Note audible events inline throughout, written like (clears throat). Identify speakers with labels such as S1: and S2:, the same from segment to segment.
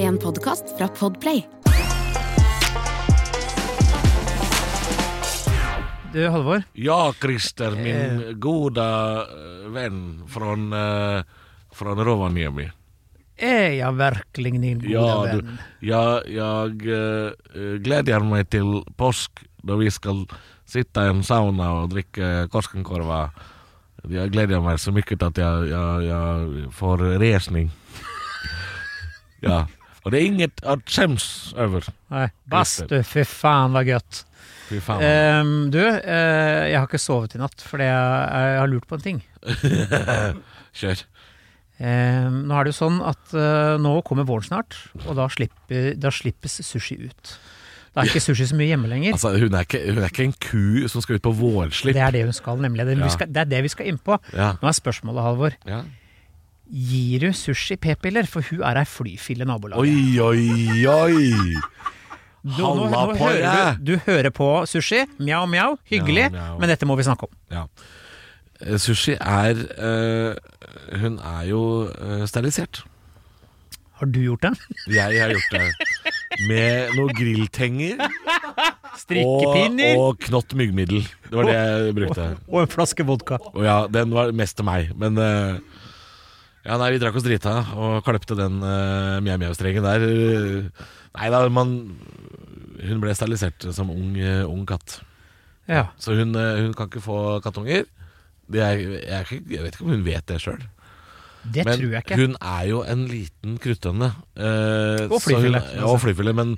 S1: En podkast fra Podplay.
S2: Du, Halvor.
S3: Ja, Christer, min gode eh, venn fra Rovaniemi.
S2: Er jeg virkelig din gode
S3: Ja, du,
S2: venn?
S3: ja, jeg eh, gleder meg til påsk, da vi skal sitte i en sauna og drikke Koskenkorva. Jeg gleder meg så mye til at jeg, jeg, jeg får resning. (laughs) ja. Og det er inget å skjemmes over.
S2: Nei, bass, du. Fy faen, hva gøtt.
S3: Fy faen.
S2: Ehm, du, eh, jeg har ikke sovet i natt fordi jeg, jeg har lurt på en ting.
S3: Kjør.
S2: Ehm, nå er det jo sånn at eh, nå kommer våren snart, og da, slipper, da slippes sushi ut. Da er ikke sushi så mye hjemme lenger.
S3: Altså, hun er, ikke, hun er ikke en ku som skal ut på vårslipp.
S2: Det er det hun skal, nemlig. Det, er det
S3: Ja.
S2: vi skal, det er det vi skal inn på.
S3: Ja.
S2: Nå er spørsmålet, Halvor.
S3: ja.
S2: Gir du sushi p-piller? For hun er ei flyfille nabolag.
S3: Oi, oi, oi!
S2: Du, nå, nå
S3: Halla på
S2: hører
S3: deg!
S2: du, du hører på sushi. Mjau, mjau. Hyggelig.
S3: Mjau, mjau.
S2: Men dette må vi snakke om.
S3: Ja. Eh, Sushi er eh, Hun er jo eh, sterilisert.
S2: Har du gjort
S3: (laughs)
S2: det?
S3: Jeg har gjort det. Med noen grilltenger og,
S2: Strikkepinner og,
S3: og knott myggmiddel. Det var det jeg brukte.
S2: (laughs) en flaske vodka.
S3: Og ja, den var mest til meg, men eh, Ja, nei, vi drakk oss drita og klepte den uh, mjau-mjau-strengen der. Eh, Nei da, man Hun ble sterilisert som ung, eh, ung katt.
S2: Ja.
S3: Så hun, eh, hun kan ikke få kattunger. Det er, jeg, er ikke, jeg vet ikke om hun vet det sjøl.
S2: Det
S3: Men
S2: tror jeg ikke.
S3: hun er jo en liten kruttønne. eh,
S2: Og altså.
S3: så hun-
S2: flyfille, som
S3: Ja,
S2: jeg
S3: og
S2: sa.
S3: flyfille. Men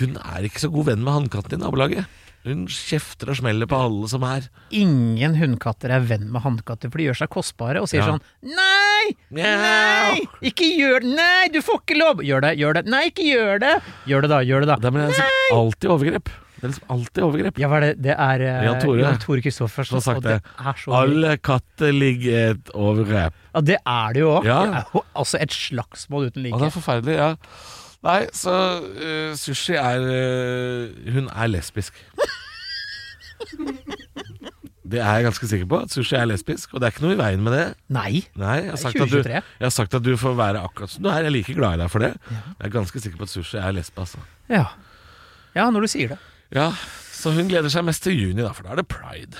S3: hun er ikke så god venn med hannkatten i nabolaget. Hun kjefter og smeller på alle som er.
S2: Ingen hundkatter er venn med hannkatter, for de gjør seg kostbare og sier
S3: Ja.
S2: sånn Nei!
S3: Mjau!»
S2: Nei! Ikke gjør det! Nei, du får ikke lov! Gjør det, gjør det. Nei, ikke gjør det! Gjør det, da. Gjør det, da.
S3: Det er liksom alltid overgrep. Det er liksom alltid overgrep.
S2: Ja, hva er det? Det er eh,
S3: Jan Tore.
S2: Jan Tore
S3: Som
S2: Kristoffersen.
S3: har sagt
S2: og det
S3: det.
S2: er så mye.
S3: Alle katter ligger i et overgrep.
S2: Ja, det er det jo òg.
S3: Ja.
S2: Det er jo altså et slagsmål uten
S3: Og det
S2: like.
S3: er forferdelig, ja. Nei, så eh, sushi er eh, Hun er lesbisk. Det er jeg ganske sikker på. At sushi er lesbisk, og det er ikke noe i veien med det.
S2: Nei.
S3: Nei, jeg
S2: Det
S3: har,
S2: er
S3: sagt at du,
S2: 2023.
S3: jeg har sagt at du får være akkurat som du er. Jeg er like glad i deg for det. Jeg er ganske sikker på at sushi er lesbe, altså.
S2: Ja. ja, når du sier det.
S3: Ja, så hun gleder seg mest til juni, da, for da er det pride.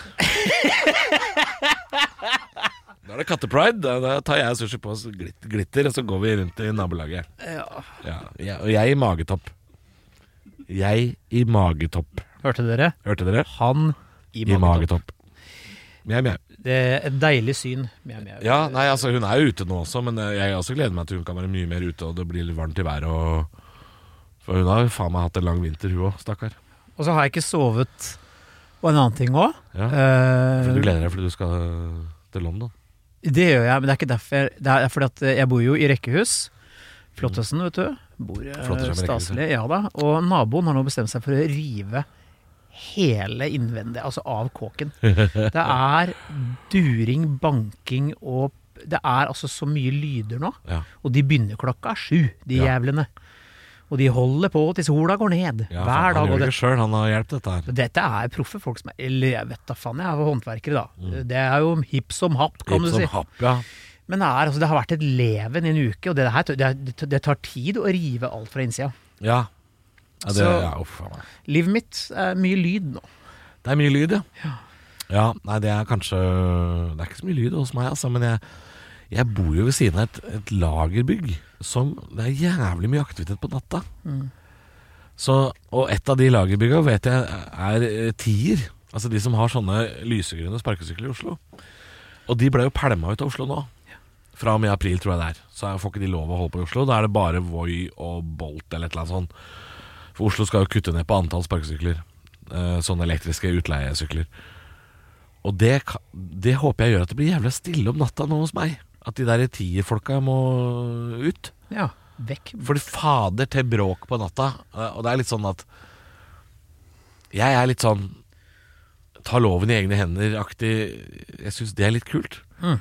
S3: da er det kattepride. Da, da tar jeg og sushi på oss glit, glitter, og så går vi rundt i nabolaget.
S2: Ja.
S3: Ja, jeg, og jeg i magetopp. Jeg i magetopp.
S2: Hørte dere?
S3: Hørte dere?
S2: Han i
S3: I
S2: magetopp.
S3: magetopp. Mjau, mjau.
S2: Det er et deilig syn. Mjau, mjau.
S3: Ja, nei, altså hun er jo ute nå også, men eh, jeg også gleder meg til hun kan være mye mer ute og det blir litt varmt i været. Og... For hun har jo faen meg hatt en lang vinter, hun òg, stakkar.
S2: Og så har jeg ikke sovet. Og en annen ting òg.
S3: Ja. For Du gleder deg fordi du skal til London?
S2: Eh, det gjør jeg, men det er ikke derfor. Det er fordi at eh, jeg bor jo i rekkehus. Flottesen, vet du. Bor eh,
S3: Flottesen med rekkehus,
S2: staselig. Ja da. Og naboen har nå bestemt seg for å rive hele innvendig, altså av
S3: (laughs)
S2: kåken. Det er during, banking og Det er altså så mye lyder nå.
S3: Ja.
S2: Og de begynner klokka sju, de
S3: Ja.
S2: jævlene. Og de holder på til sola går ned.
S3: Ja,
S2: hver
S3: faen,
S2: dag.
S3: Han
S2: Og
S3: gjør det
S2: det,
S3: ikke sjøl, han har hjulpet dette her.
S2: dette er proffe folk som er Eller jeg vet da faen, jeg er jo håndverkere, da. Det er jo hipp som happ, kan
S3: Mm. Hipp
S2: du
S3: som
S2: si.
S3: Happ, ja.
S2: Men det, er, altså, det har vært et leven i en uke, og det, her, det, er- det tar tid å rive alt fra innsida.
S3: Ja. Ja, det,
S2: Så-
S3: ja, uff, faen meg.
S2: Livet mitt er mye lyd nå.
S3: det er mye lyd, ja. ja. Nei, det er kanskje Det er ikke så mye lyd hos meg, altså, men jeg, jeg bor jo ved siden av et, et lagerbygg som Det er jævlig mye aktivitet på natta. Så, og et av de lagerbygga vet jeg er eh, tier. Altså de som har sånne lysegrønne sparkesykler i Oslo. Og de ble jo pælma ut av Oslo nå. Fra og med april, tror jeg det er. Så får ikke de lov å holde på i Oslo. Da er det bare Voi og Bolt eller et eller annet sånt. For Oslo skal jo kutte ned på antall sparkesykler. eh, Sånne elektriske utleiesykler. Og det, ka- det håper jeg gjør at det blir jævla stille om natta nå hos meg. At de der tierfolka må ut.
S2: Ja, vekk.
S3: For det fader til bråk på natta. eh, Og det er litt sånn at Jeg er litt sånn ta loven i egne hender-aktig. Jeg syns det er litt kult.
S2: Mm.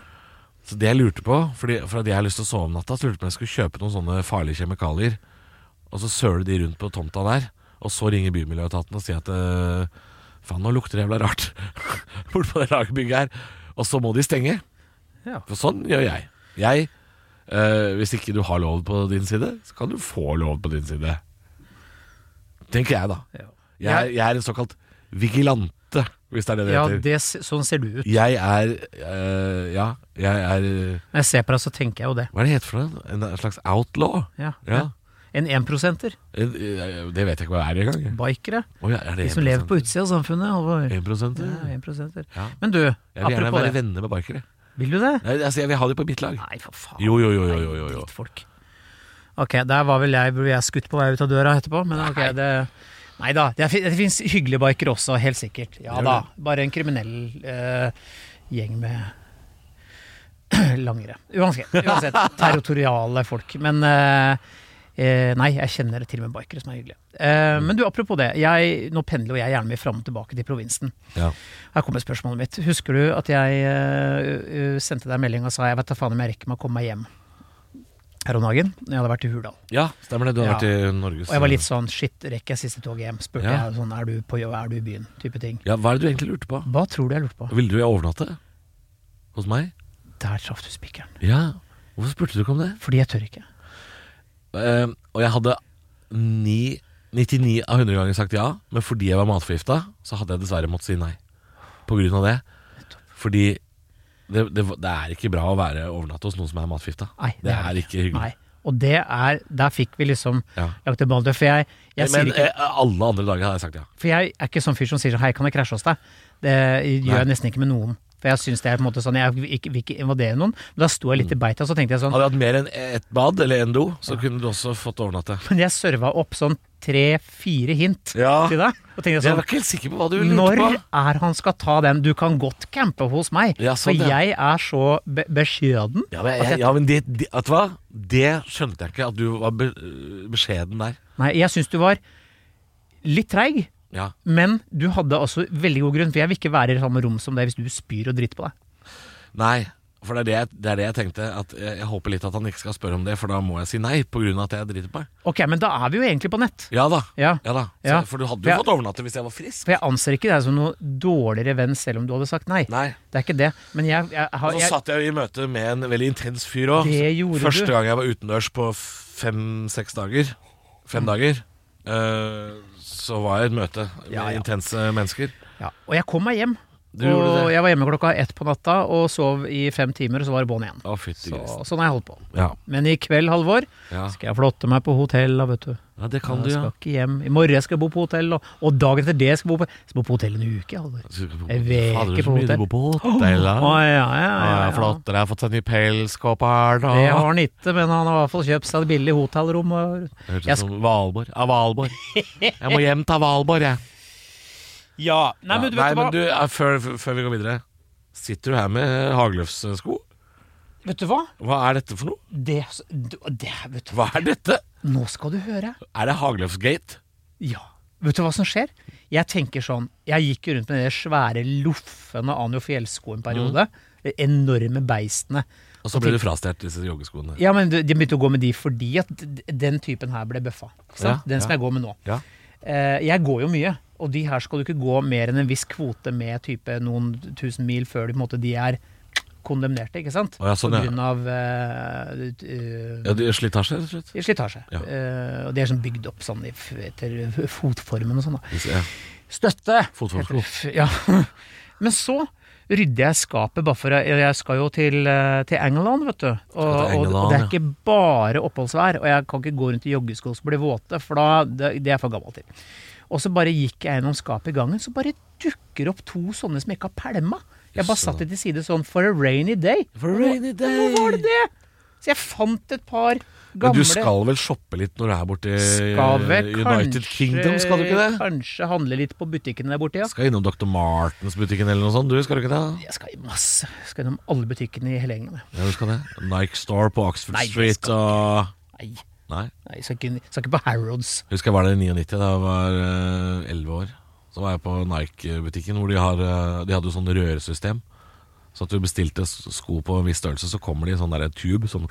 S3: Så det jeg lurte på, fordi, for at jeg har lyst til å sove om natta, så lurte jeg på om jeg skulle kjøpe noen sånne farlige kjemikalier. Og så søler de rundt på tomta der, og så ringer bymiljøetaten og sier at eh, faen, nå lukter det jævla rart (laughs) bort på det lagerbygget her. Og så må de stenge.
S2: Ja.
S3: For sånn gjør jeg. Jeg Eh, hvis ikke du har lov på din side, så kan du få lov på din side. Tenker jeg, da.
S2: Ja.
S3: Jeg, er- jeg er en såkalt vigilante, hvis det er det det
S2: Ja,
S3: heter.
S2: det, s- sånn ser du ut.
S3: Jeg er eh, Ja, jeg er eh,
S2: Når jeg ser på deg, så tenker jeg jo det.
S3: Hva er det heter for noe? En slags outlaw?
S2: Ja.
S3: Ja.
S2: En énprosenter.
S3: Eh, eh, Det vet jeg ikke hva er engang.
S2: Bikere.
S3: Oh, ja, er det
S2: De som lever på utsida av samfunnet. Halvor.
S3: 1
S2: Ja,
S3: ja.
S2: 1%.
S3: Ja.
S2: Men du,
S3: Jeg vil gjerne
S2: apropos
S3: være
S2: det.
S3: venner med barkere.
S2: Vil du det?
S3: Nei, altså, jeg vil ha dem på mitt lag.
S2: Nei, for faen.
S3: Jo, jo, jo. jo, jo, jo, jo.
S2: Drittfolk. Ok, der var vel jeg, ble jeg skutt på vei ut av døra etterpå, men ok, det Nei da, det, fin- det fins hyggelige bikere også, helt sikkert. Ja
S3: Gjør
S2: da.
S3: det.
S2: Bare en kriminell eh, gjeng med (clears throat) langere. Uansett, uansett
S3: (laughs)
S2: territoriale folk. Men eh, eh, nei, jeg kjenner til og med bikere som er hyggelige. Eh, Men du, apropos det. Jeg, nå pendler jo jeg gjerne mye fram og tilbake til provinsen.
S3: Ja.
S2: Her kommer spørsmålet mitt. Husker du at jeg eh, eh, sendte deg en melding og sa jeg vet da faen om jeg rekker meg å komme meg hjem her om dagen? Når jeg hadde vært i Hurdal.
S3: ja, stemmer det. Du har
S2: Ja.
S3: vært i Norges
S2: Og jeg var litt sånn shit, rekker jeg siste toget hjem? Spurte
S3: Ja.
S2: jeg sånn er du på jobb, er du i byen? Type ting.
S3: ja, Hva er det du egentlig lurte på?
S2: Hva tror du jeg lurte på?
S3: Ville du overnatte hos meg?
S2: Der traff du spikeren.
S3: Ja. Hvorfor spurte du ikke om det?
S2: Fordi jeg tør ikke.
S3: Eh, og jeg hadde ni, 99 av 100 ganger sagt ja, men fordi jeg var matforgifta, så hadde jeg dessverre måttet si nei. På grunn av det. Fordi det, det, det er ikke bra å være overnatt hos noen som er matforgifta.
S2: Nei,
S3: Det er ikke hyggelig.
S2: Nei. Og det er Der fikk vi liksom
S3: Ja.
S2: lagt en ball død. For jeg, jeg sier
S3: men
S2: ikke
S3: eh, alle andre dager hadde jeg sagt ja.
S2: For jeg er ikke sånn fyr som sier sånn, hei, kan jeg krasje hos deg? Det gjør jeg nesten ikke med noen. For jeg synes det er på en måte sånn, jeg vil ikke, vil ikke invadere noen. Men da sto jeg litt i beita, så tenkte jeg sånn,
S3: Hadde jeg hatt mer enn ett bad eller en do, så kunne du også fått overnatte.
S2: men jeg serva opp sånn tre-fire hint
S3: Ja.
S2: til deg. Og tenkte
S3: Jeg
S2: sånn,
S3: var ikke helt sikker på hva du lurte
S2: når
S3: på.
S2: er han skal ta den? Du kan godt campe hos meg.
S3: Ja, sånn,
S2: for
S3: ja.
S2: jeg er så be beskjeden.
S3: Ja, men, jeg, ja, men det, det, vet du hva? det skjønte jeg ikke, at du var be, beskjeden der.
S2: Nei, jeg synes du var litt treig.
S3: Ja.
S2: Men du hadde også veldig god grunn, for jeg vil ikke være i samme rom som deg hvis du spyr og driter på deg.
S3: Nei, for det er det, jeg- det er det jeg tenkte. At jeg, jeg håper litt at han ikke skal spørre om det, for da må jeg si nei pga. at jeg driter på meg.
S2: Ok, men da er vi jo egentlig på nett.
S3: Ja da.
S2: Ja.
S3: Ja da.
S2: Ja.
S3: Så, for du hadde
S2: For
S3: jo
S2: jeg-
S3: fått overnatte hvis jeg var frisk.
S2: For jeg anser ikke deg som noe dårligere venn selv om du hadde sagt nei.
S3: Nei.
S2: Det er ikke det. Men jeg, jeg
S3: Og
S2: har
S3: så
S2: jeg,
S3: satt jeg jo i møte med en veldig intens fyr òg.
S2: Det gjorde du.
S3: Første gang jeg var utendørs på fem-seks dager.
S2: Mm.
S3: Fem dager. Eh, så var jeg i et møte med
S2: Ja, ja.
S3: intense mennesker.
S2: ja. Og jeg kom meg hjem.
S3: Du
S2: og
S3: gjorde det.
S2: jeg var hjemme klokka ett på natta og sov i fem timer, og så var det bånn igjen.
S3: Å, fytti
S2: Så,
S3: grisen.
S2: sånn har jeg holdt på.
S3: Ja.
S2: Men i kveld, Halvor,
S3: Ja.
S2: skal jeg flotte meg på hotell, da, vet du.
S3: ja, det kan
S2: jeg
S3: du, ja.
S2: skal ikke hjem. I morgen skal jeg bo på hotell, og, og dagen etter det skal jeg bo på, skal bo på hotell en uke, Halvor. Jeg vet
S3: Fader,
S2: ikke
S3: så
S2: på
S3: mye du
S2: hotell.
S3: bor på hotell, da.
S2: Å, ja, ja, ja, ja,
S3: Ja, Flott, dere har fått seg ny pelskåpe her, da.
S2: Det har han ikke, men han har i hvert fall kjøpt seg et billig hotellrom. og-
S3: Hørtes
S2: Jeg
S3: ut som Valborg. Ja, Valborg. Jeg må hjem til Valborg, jeg.
S2: Ja, nei, men du vet,
S3: Nei,
S2: du hva?
S3: men du, eh, før, før vi går videre. Sitter du her med eh, hagløfssko?
S2: vet du hva?
S3: Hva er dette for noe?
S2: Det, det, vet du hva?
S3: Hva er dette?
S2: Nå skal du høre.
S3: Er det Hagløfsgate?
S2: Ja. Vet du hva som skjer? Jeg tenker sånn Jeg gikk jo rundt med de svære, loffende Anjo Fjellsko en periode.
S3: Mm.
S2: De enorme beistene.
S3: Og så ble du frastjålet disse joggeskoene.
S2: Ja, men du- de begynte å gå med de fordi at d- den typen her ble bøffa. Ikke sant?
S3: Ja,
S2: den som
S3: ja.
S2: jeg går med nå.
S3: Ja.
S2: Eh, jeg går jo mye, og de her skal du ikke gå mer enn en viss kvote med type noen tusen mil før de, på en måte, de er kondemnerte, ikke sant?
S3: Å, ja, sånn,
S2: på
S3: ja.
S2: grunn av eh, ut- eh,
S3: Ja, du- Slitasje, rett og slett?
S2: slitasje.
S3: Ja.
S2: Eh, og de er sånn bygd opp sånn i f- etter fotformen og sånn. da.
S3: Ja.
S2: Støtte!
S3: Fotformsko.
S2: F- Ja. (laughs) Men så rydder jeg skapet, bare for jeg, jeg skal jo til, eh, til England, vet du. Og,
S3: Skal til
S2: og,
S3: England,
S2: og det er
S3: ja.
S2: ikke bare oppholdsvær, og jeg kan ikke gå rundt i joggesko som blir våte, for da, det, det er jeg for gammel til. Og så bare gikk jeg gjennom skapet i gangen, så bare dukker opp to sånne som jeg ikke har pælma. Jeg bare
S3: Jøsse,
S2: satte
S3: da.
S2: de til side sånn for a rainy day.
S3: For a rainy
S2: Og Nå
S3: day.
S2: nå var det det! Så jeg fant et par
S3: Men
S2: gamle
S3: du skal vel shoppe litt når du er borte i
S2: Skal vel
S3: United
S2: kanskje-
S3: Kingdom, skal du ikke det?
S2: Kanskje handle litt på butikken der borte, ja.
S3: Skal innom Dr. Martens-butikken eller noe sånt, du, skal du ikke det?
S2: Jeg skal i masse. Jeg skal gjennom alle butikkene i hele England. jeg.
S3: Ja, du skal det. Nike Store på Oxford
S2: Nei, det
S3: Street
S2: skal
S3: og
S2: Nei,
S3: Nei.
S2: nei jeg skal ikke, jeg skal ikke på Harrods.
S3: Husker jeg var der i 99 da jeg var eh, 11 år. Så var jeg på Nike-butikken hvor de, har, eh, de hadde jo sånn røresystem. Så at du bestilte s- sko på en viss størrelse, så kommer de i sånn derre tube sånn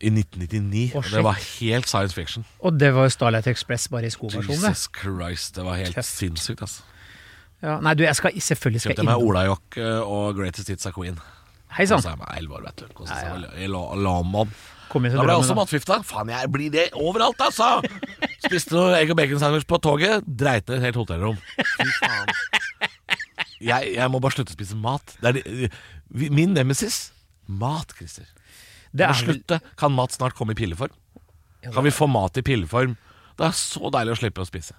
S3: I 1999.
S2: Å,
S3: Og
S2: shit.
S3: det var helt science fiction.
S2: Og det var jo Starlight Express bare i skoversjonen. det.
S3: Jesus Christ, det var helt
S2: Tøft.
S3: sinnssykt, altså.
S2: Ja, nei, du, jeg skal selvfølgelig skal
S3: Kjøpte
S2: jeg
S3: meg
S2: innom.
S3: olajokk eh, og Greatest Hits av Queen.
S2: Hei sann.
S3: Kosa meg elleve år, vet du. Kosa
S2: Ja,
S3: seg
S2: ja.
S3: med la- la- Lamon.
S2: Kom igjen,
S3: Da
S2: så
S3: ble
S2: drar
S3: jeg
S2: vi
S3: også
S2: da.
S3: matforgifta. Faen, jeg blir det overalt, altså! Spiste noe egg og bacon-sandwich på toget, dreit ned et helt hotellrom. Fy faen. Jeg, jeg må bare slutte å spise mat. Det er de, vi- min nemesis mat, Christer.
S2: Det
S3: Må
S2: er vel
S3: slutte. Kan mat snart komme i pilleform? Kan vi få mat i pilleform? Det er så deilig å slippe å spise.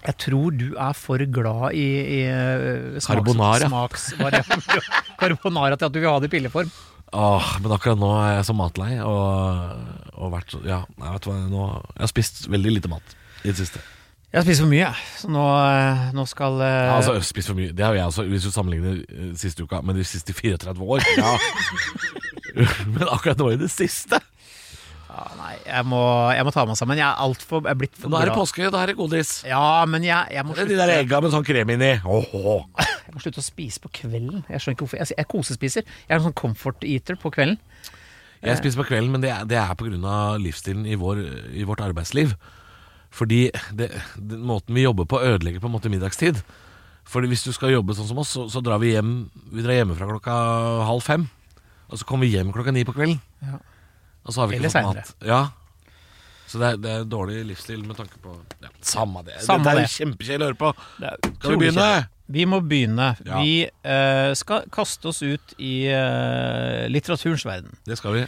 S2: Jeg tror du er for glad i, i eh, smaks,
S3: Carbonara.
S2: smaksvarianter. (laughs) Carbonara til at du vil ha det i pilleform.
S3: Åh, men akkurat nå er jeg så matlei og, og vært så Ja, nei, vet du hva, nå Jeg har spist veldig lite mat i det siste.
S2: Jeg spiser for mye, jeg. Så nå, eh, nå skal eh,
S3: Ja, altså, jeg har spist for mye. Det har jeg også, hvis du sammenligner eh, siste uka med de siste 34 år. Ja. men akkurat nå i det siste.
S2: ja, Nei, jeg må, jeg må ta meg sammen. Jeg er altfor Jeg er blitt for
S3: Nå er det
S2: glad.
S3: påske, da er det godis.
S2: Ja, men jeg, jeg, må
S3: Det er
S2: slutte,
S3: De der egga med sånn krem inni. Åh, åh.
S2: jeg må slutte å spise på kvelden. Jeg skjønner ikke hvorfor. Jeg, jeg kosespiser. Jeg er en sånn comfort eater på kvelden.
S3: Jeg spiser på kvelden, men det er, det er på grunn av livsstilen i, vår, i vårt arbeidsliv. Fordi det, den måten vi jobber på ødelegger på en måte middagstid. Fordi hvis du skal jobbe sånn som oss, så, så drar vi hjem Vi drar hjemmefra klokka halv fem. Og så kommer vi hjem klokka ni på kvelden.
S2: Ja.
S3: Og så har vi ikke
S2: Eller
S3: fått mat. Ja. Så det er, det er dårlig livsstil med tanke på ja, Samme det.
S2: Samme
S3: Dette er
S2: det.
S3: jo kjempekjedelig å høre på.
S2: Det er
S3: Skal vi
S2: utrolig
S3: begynne?
S2: kjedelig. Vi må begynne.
S3: Ja.
S2: Vi eh, skal kaste oss ut i eh, litteraturens verden.
S3: Det skal vi.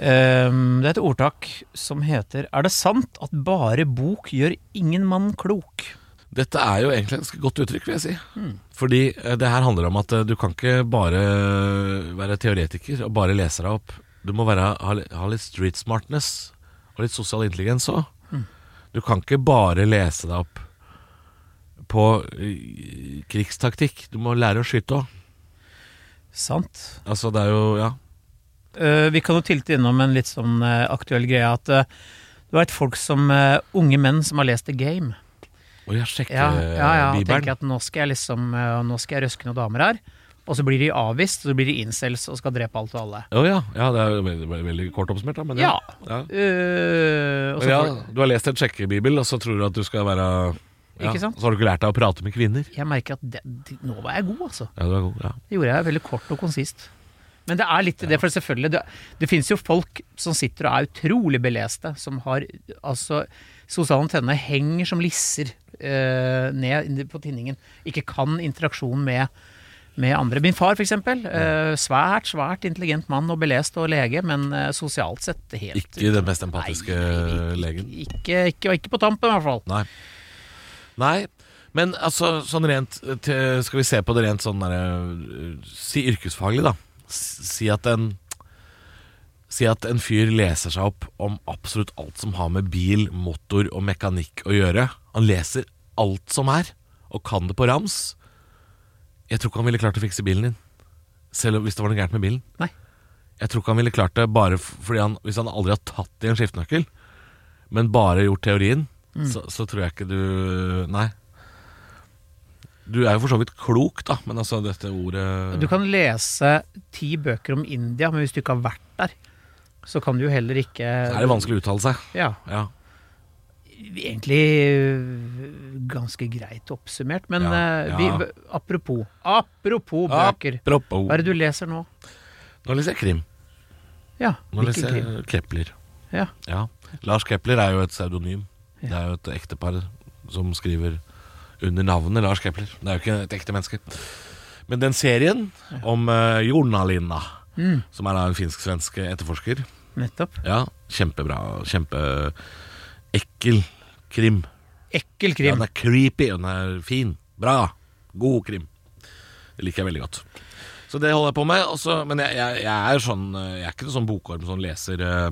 S2: Ehm, det er et ordtak som heter Er det sant at bare bok gjør ingen mann klok?
S3: Dette er jo egentlig et ganske godt uttrykk, vil jeg si.
S2: Mm.
S3: Fordi eh, det her handler om at eh, du kan ikke bare eh, være teoretiker og bare lese deg opp. Du må være, ha, li- ha litt street smartness og litt sosial intelligens òg.
S2: Mm.
S3: Du kan ikke bare lese deg opp på eh, krigstaktikk. Du må lære å skyte òg.
S2: Sant.
S3: Altså, det er jo Ja.
S2: Eh, vi kan jo tilte innom en litt sånn eh, aktuell greie at eh, du veit folk som eh, Unge menn som har lest The Game.
S3: Og jeg sjekker
S2: Ja, ja, ja og tenker
S3: eh, Bibelen.
S2: at nå skal jeg liksom eh, Nå skal jeg røske noen damer her. Og så blir de avvist, og så blir de incels og skal drepe alt og alle.
S3: Å ja. ja. Det er jo veldig, veldig, veldig kort oppsummert, da. Men ja.
S2: Ja.
S3: ja.
S2: Eh, og så
S3: Men ja,
S2: folk-
S3: du har lest en sjekkebibel, og så tror du at du skal være ja,
S2: Ikke sant?
S3: Så har du ikke lært deg å prate med kvinner.
S2: Jeg merker at det, det, nå var jeg god, altså.
S3: Ja, du er god, ja.
S2: Det gjorde jeg veldig kort og konsist. Men det er litt det, for selvfølgelig Det, det fins jo folk som sitter og er utrolig beleste, som har Altså, sosiale antenner henger som lisser eh, ned på tinningen. Ikke kan interaksjon med med andre. Min far, for eksempel. eh, svært, svært intelligent mann og belest og lege, men eh, sosialt sett helt
S3: Ikke den mest empatiske
S2: Nei,
S3: legen.
S2: Ikke, ikke, ikke på tampen, i hvert fall.
S3: Nei. Nei. Men altså, sånn rent til, Skal vi se på det rent sånn derre Si yrkesfaglig, da. S- Si at en Si at en fyr leser seg opp om absolutt alt som har med bil, motor og mekanikk å gjøre. Han leser alt som er, og kan det på rams. Jeg tror ikke han ville klart å fikse bilen din. Selv om- hvis det var noe gærent med bilen.
S2: Nei.
S3: Jeg tror ikke han ville klart det bare f- fordi han, hvis han aldri har tatt i en skiftenøkkel, men bare gjort teorien,
S2: Mm.
S3: så, så tror jeg ikke du Nei. Du er jo for så vidt klok, da, men altså dette ordet
S2: Du kan lese ti bøker om India, men hvis du ikke har vært der, så kan du jo heller ikke
S3: Så er det vanskelig å uttale seg.
S2: Ja.
S3: Ja.
S2: Egentlig øh, ganske greit oppsummert, men
S3: Ja,
S2: øh,
S3: ja.
S2: Vi, apropos Apropos bøker.
S3: Apropos.
S2: Hva er det du leser nå?
S3: oh. Nå leser jeg krim.
S2: Ja,
S3: Nå
S2: hvilken
S3: leser
S2: krim?
S3: jeg Kepler.
S2: Ja.
S3: Ja. Lars Kepler er jo et pseudonym.
S2: Ja.
S3: Det er jo et ektepar som skriver under navnet Lars Kepler. Det er jo ikke et ekte menneske. Men den serien om uh, Jornalina,
S2: Mm,
S3: som er da en finsk-svensk etterforsker
S2: nettopp.
S3: Ja, kjempebra. Kjempeekkel krim.
S2: Ekkel
S3: Ja,
S2: krim.
S3: den er creepy, og den er fin. Bra. God krim. Det liker jeg veldig godt. Så det holder jeg på med. og så- men jeg, jeg, jeg er sånn eh, Jeg er ikke noen sånn bokorm som leser eh,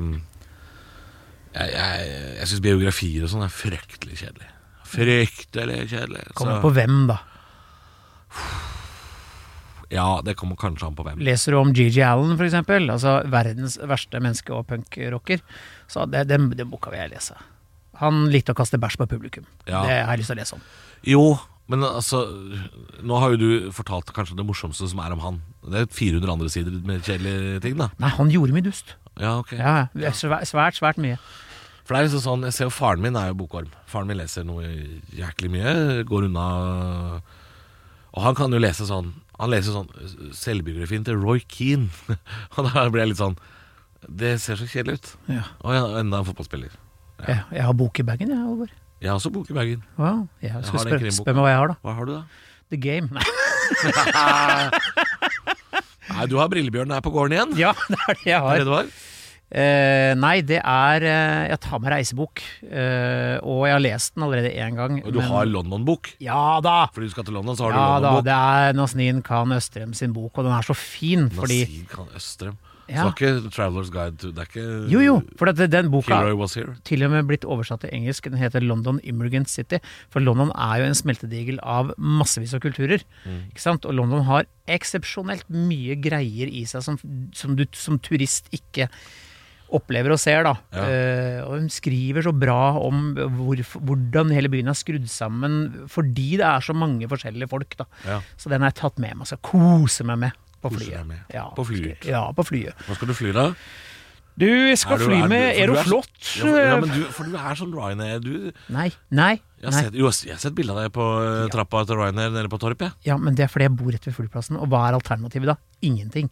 S3: Jeg, jeg, jeg syns biografier og sånn er fryktelig kjedelig. Fryktelig kjedelig.
S2: Kommer på hvem, da?
S3: ja, det kommer kanskje an på hvem.
S2: Leser du om GG Allen, for eksempel? Altså verdens verste menneske og punkrocker. Så det, den, den boka vil jeg lese. Han likte å kaste bæsj på publikum.
S3: Ja.
S2: Det har jeg lyst til å lese om.
S3: Jo, men altså Nå har jo du fortalt kanskje det morsomste som er om han. Det er 400 andre sider med kjedelige ting, da.
S2: Nei, han gjorde mye dust.
S3: Ja, ok
S2: Ja, ja. Svæ- Svært, svært mye.
S3: For det er liksom sånn, jeg ser jo faren min er jo bokorm Faren min leser noe jæklig mye Går unna Og han kan jo lese sånn Han leser sånn eh, selvbiografien til Roy Keane. (laughs) Og da ble jeg litt sånn Det ser så kjedelig ut.
S2: Ja.
S3: Og ja, enda en fotballspiller.
S2: Jeg, jeg har bok i bagen, jeg, Halvor.
S3: Jeg har også bok i bagen.
S2: Wow. Jeg skal
S3: har den
S2: spørre
S3: krimboka.
S2: spør meg hva jeg har, da.
S3: Hva har du, da?
S2: The Game. Nei.
S3: Nei, du har Brillebjørnen her på gården igjen.
S2: (laughs) Ja, det er det jeg
S3: Er det
S2: har.
S3: det var?
S2: Eh, nei, det er eh, Jeg tar med reisebok. Eh, og jeg har lest den allerede én gang.
S3: Og du
S2: men-
S3: har London-bok.
S2: Ja da!
S3: Fordi du skal til London, så har
S2: Ja
S3: du
S2: da,
S3: London-bok.
S2: det er Nazneen Khan Østrem sin bok, og den er så fin fordi
S3: Nasir Khan Østrem.
S2: Ja.
S3: Så det er ikke Travelers Guide to Det er ikke
S2: Jo, jo, for at den boka
S3: Kilroy Was Here.
S2: til og med blitt oversatt til engelsk. Den heter London Immigrant City. For London er jo en smeltedigel av massevis av kulturer.
S3: Mm.
S2: Ikke sant? Og London har eksepsjonelt mye greier i seg som, som du som turist ikke opplever og ser. da.
S3: Ja.
S2: Eh, og hun skriver så bra om hvorf- hvordan hele byen er skrudd sammen fordi det er så mange forskjellige folk. da.
S3: Ja.
S2: Så den har jeg tatt med meg. Skal kose meg med på
S3: Koser
S2: flyet.
S3: deg med.
S2: Ja,
S3: På flyet.
S2: Ja, på flyet.
S3: Hvor skal du fly, da?
S2: Du jeg skal
S3: Er du-
S2: fly
S3: er du-
S2: med
S3: for du er så-
S2: Aeroflot. eh.
S3: Ja, for, ja, men du, for du er sånn Ryanair Du, jeg
S2: Nei, nei.
S3: har
S2: nei.
S3: sett, jo, jeg har sett bilde av deg på eh, trappa til Ryanair nede på Torp, jeg.
S2: Ja, men det er fordi jeg bor rett ved flyplassen. Og hva er alternativet da? Ingenting.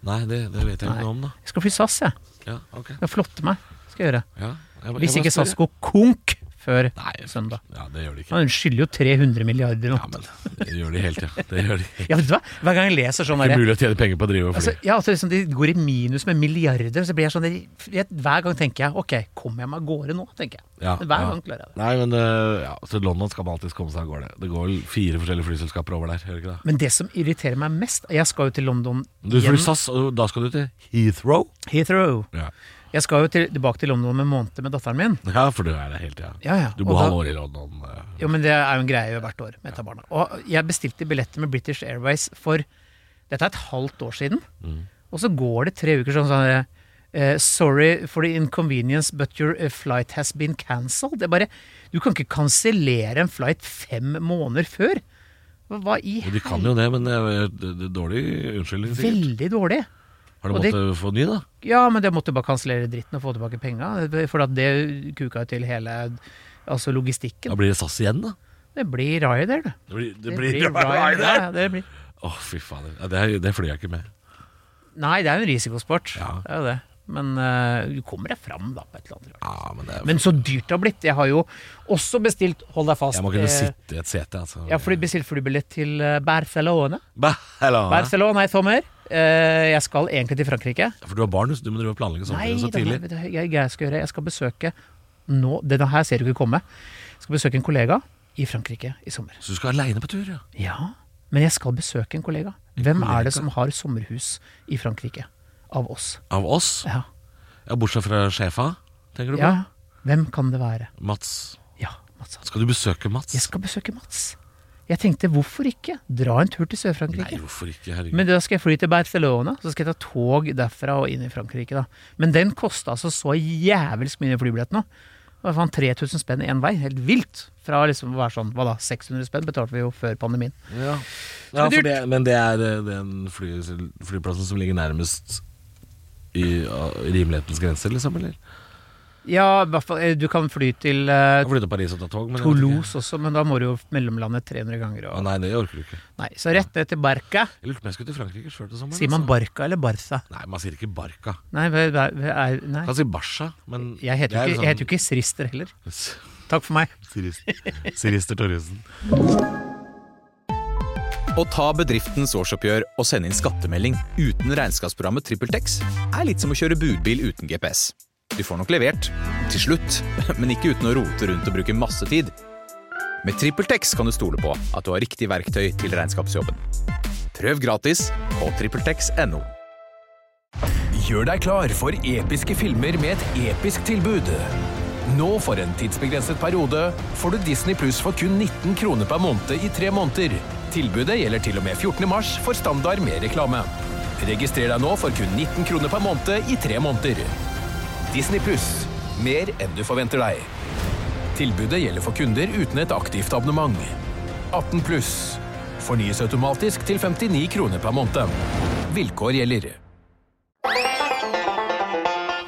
S3: Nei, det, det vet jeg
S2: Nei.
S3: ikke noe om, da.
S2: Jeg skal fly SAS, jeg.
S3: Ja, ok
S2: Skal flotte meg. Skal jeg gjøre.
S3: ja, jeg,
S2: Hvis
S3: jeg bare
S2: ikke
S3: spør,
S2: SAS
S3: jeg.
S2: går konk før
S3: Nei, jeg-
S2: søndag.
S3: Ja, det gjør de ikke.
S2: Han skylder jo 300 milliarder nå.
S3: Ja, men det gjør de helt, ja. Det gjør de helt.
S2: Ja, vet du hva? Hver gang jeg leser sånn
S3: Ikke
S2: derre
S3: mulig å tjene penger på å drive og fly.
S2: altså, ja, altså, liksom, De går i minus med milliarder, så blir jeg sånn jeg, Hver gang tenker jeg ok, kommer jeg meg av gårde nå? tenker jeg.
S3: Ja,
S2: men hver
S3: ja.
S2: gang klarer jeg det.
S3: Nei, men eh, ja, til London skal man alltid komme seg av gårde. Det går vel fire forskjellige flyselskaper over der, gjør det ikke det?
S2: Men det som irriterer meg mest Jeg skal jo til London
S3: Du
S2: igjen.
S3: flyr SAS, og da skal du til Heathrow.
S2: Heathrow.
S3: Ja,
S2: Jeg skal jo til, tilbake til London om en måned med datteren min.
S3: ja for du er det hele tida.
S2: Ja, ja.
S3: Du
S2: Og
S3: bor
S2: da-
S3: halvåret i London. eh.
S2: Jo, men det er jo en greie hvert år med Tabarna. Og jeg bestilte billetter med British Airways for Dette er et halvt år siden.
S3: Mm.
S2: Og så går det tre uker sånn sånn eh, Sorry for the inconvenience, but your eh, flight has been cancelled. Det er bare Du kan ikke kansellere en flight fem måneder før! Hva- Hva i
S3: Og de kan jo det, men eh, det det er dårlig unnskyldning. sikkert.
S2: Veldig dårlig.
S3: Har du
S2: og det-
S3: måttet få ny, da?
S2: Ja, men det måtte du bare kansellere dritten og få tilbake penga. For at det kuka jo til hele altså
S3: Da
S2: logistikken.
S3: blir det SAS igjen, da.
S2: Det blir Ryder, det.
S3: Det blir, det
S2: Det
S3: blir,
S2: blir
S3: (laughs)
S2: Ryder. Ja, ja, det blir.
S3: Å, fy fader. Ja, det, er- det flyr jeg ikke med.
S2: Nei, det er jo en risikosport.
S3: Ja.
S2: Det er jo det. Men eh, du kommer deg fram da, på et eller annet. rart.
S3: Ja, men det er,
S2: Men så dyrt det har blitt. Jeg har jo også bestilt Hold deg fast.
S3: jeg må kunne
S2: eh,
S3: sitte i et sete, altså.
S2: Jeg har fly- bestilt flybillett til eh, Barcelona.
S3: Bah, hello.
S2: Barcelona i sommer. Eh, jeg skal egentlig til Frankrike.
S3: For du har barn, så du må drive og planlegge
S2: Nei,
S3: sommerferien så
S2: det
S3: tidlig.
S2: her- det her- jeg, jeg skal gjøre Jeg skal besøke nå Denne her ser du ikke komme. Jeg skal besøke en kollega i Frankrike i sommer.
S3: Så du skal aleine på tur, ja.
S2: Ja, men jeg skal besøke en kollega. Hvem
S3: kollega?
S2: er det som har sommerhus i Frankrike? Av oss.
S3: Av oss?
S2: Ja.
S3: Ja, bortsett fra sjefa, tenker du på?
S2: ja. Hvem kan det være?
S3: Mats.
S2: Ja, Mats Hansen.
S3: Skal du besøke Mats?
S2: Jeg skal besøke Mats. Jeg tenkte hvorfor ikke? Dra en tur til
S3: Nei,
S2: Sør-Frankrike.
S3: hvorfor ikke? Herregud.
S2: Men da skal jeg fly til Barcelona, så skal jeg ta tog derfra og inn i Frankrike, da. Men den kosta altså så jævelsk mye, den flybilletten nå. Det var faen 3000 spenn én vei. Helt vilt. Fra liksom å være sånn, hva da, 600 spenn betalte vi jo før pandemien.
S3: ja.
S2: det
S3: Ja,
S2: blir
S3: for det, men det er eh, den fly, flyplassen som ligger nærmest i ah, rimelighetens grenser, liksom? Eller?
S2: Ja, i hvert fall, eh, du kan fly til eh,
S3: Jeg har flyttet til Paris og tatt tog, men jeg vet ikke.
S2: Toulouse også, men da må du jo mellomlandet 300 ganger.
S3: Å,
S2: Og,
S3: Nei, det orker du ikke.
S2: nei, så rett ned til Barca.
S3: Jeg lurte på om jeg skulle til Frankrike sjøl til sommeren.
S2: Sier man
S3: altså.
S2: Barca eller Barca?
S3: Nei, man sier ikke Barca.
S2: Nei, hva- hva- hva er- nei.
S3: Man sier Barca, men liksom
S2: Jeg heter, jo sånn- ikke, jeg heter jo ikke Srister heller. Takk for meg.
S3: ikke (laughs) Sirister Torjussen.
S1: Å ta bedriftens årsoppgjør og sende inn skattemelding uten regnskapsprogrammet TrippelTex er litt som å kjøre budbil uten GPS. Du får nok levert, til slutt, (laughs) men ikke uten å rote rundt og bruke masse tid. Med TrippelTex kan du stole på at du har riktig verktøy til regnskapsjobben. Prøv gratis på TrippelTex.no.
S4: Gjør deg klar for episke filmer med et episk tilbud. Nå for en tidsbegrenset periode får du Disney Pluss for kun 19 kroner per måned i tre måneder. Tilbudet gjelder til og med 14. mars for standard med reklame. Registrer deg nå for kun 19 kroner per måned i tre måneder. Disney Pluss. Mer enn du forventer deg. Tilbudet gjelder for kunder uten et aktivt abonnement. 18 pluss. Fornyes automatisk til 59 kroner per måned. Vilkår gjelder.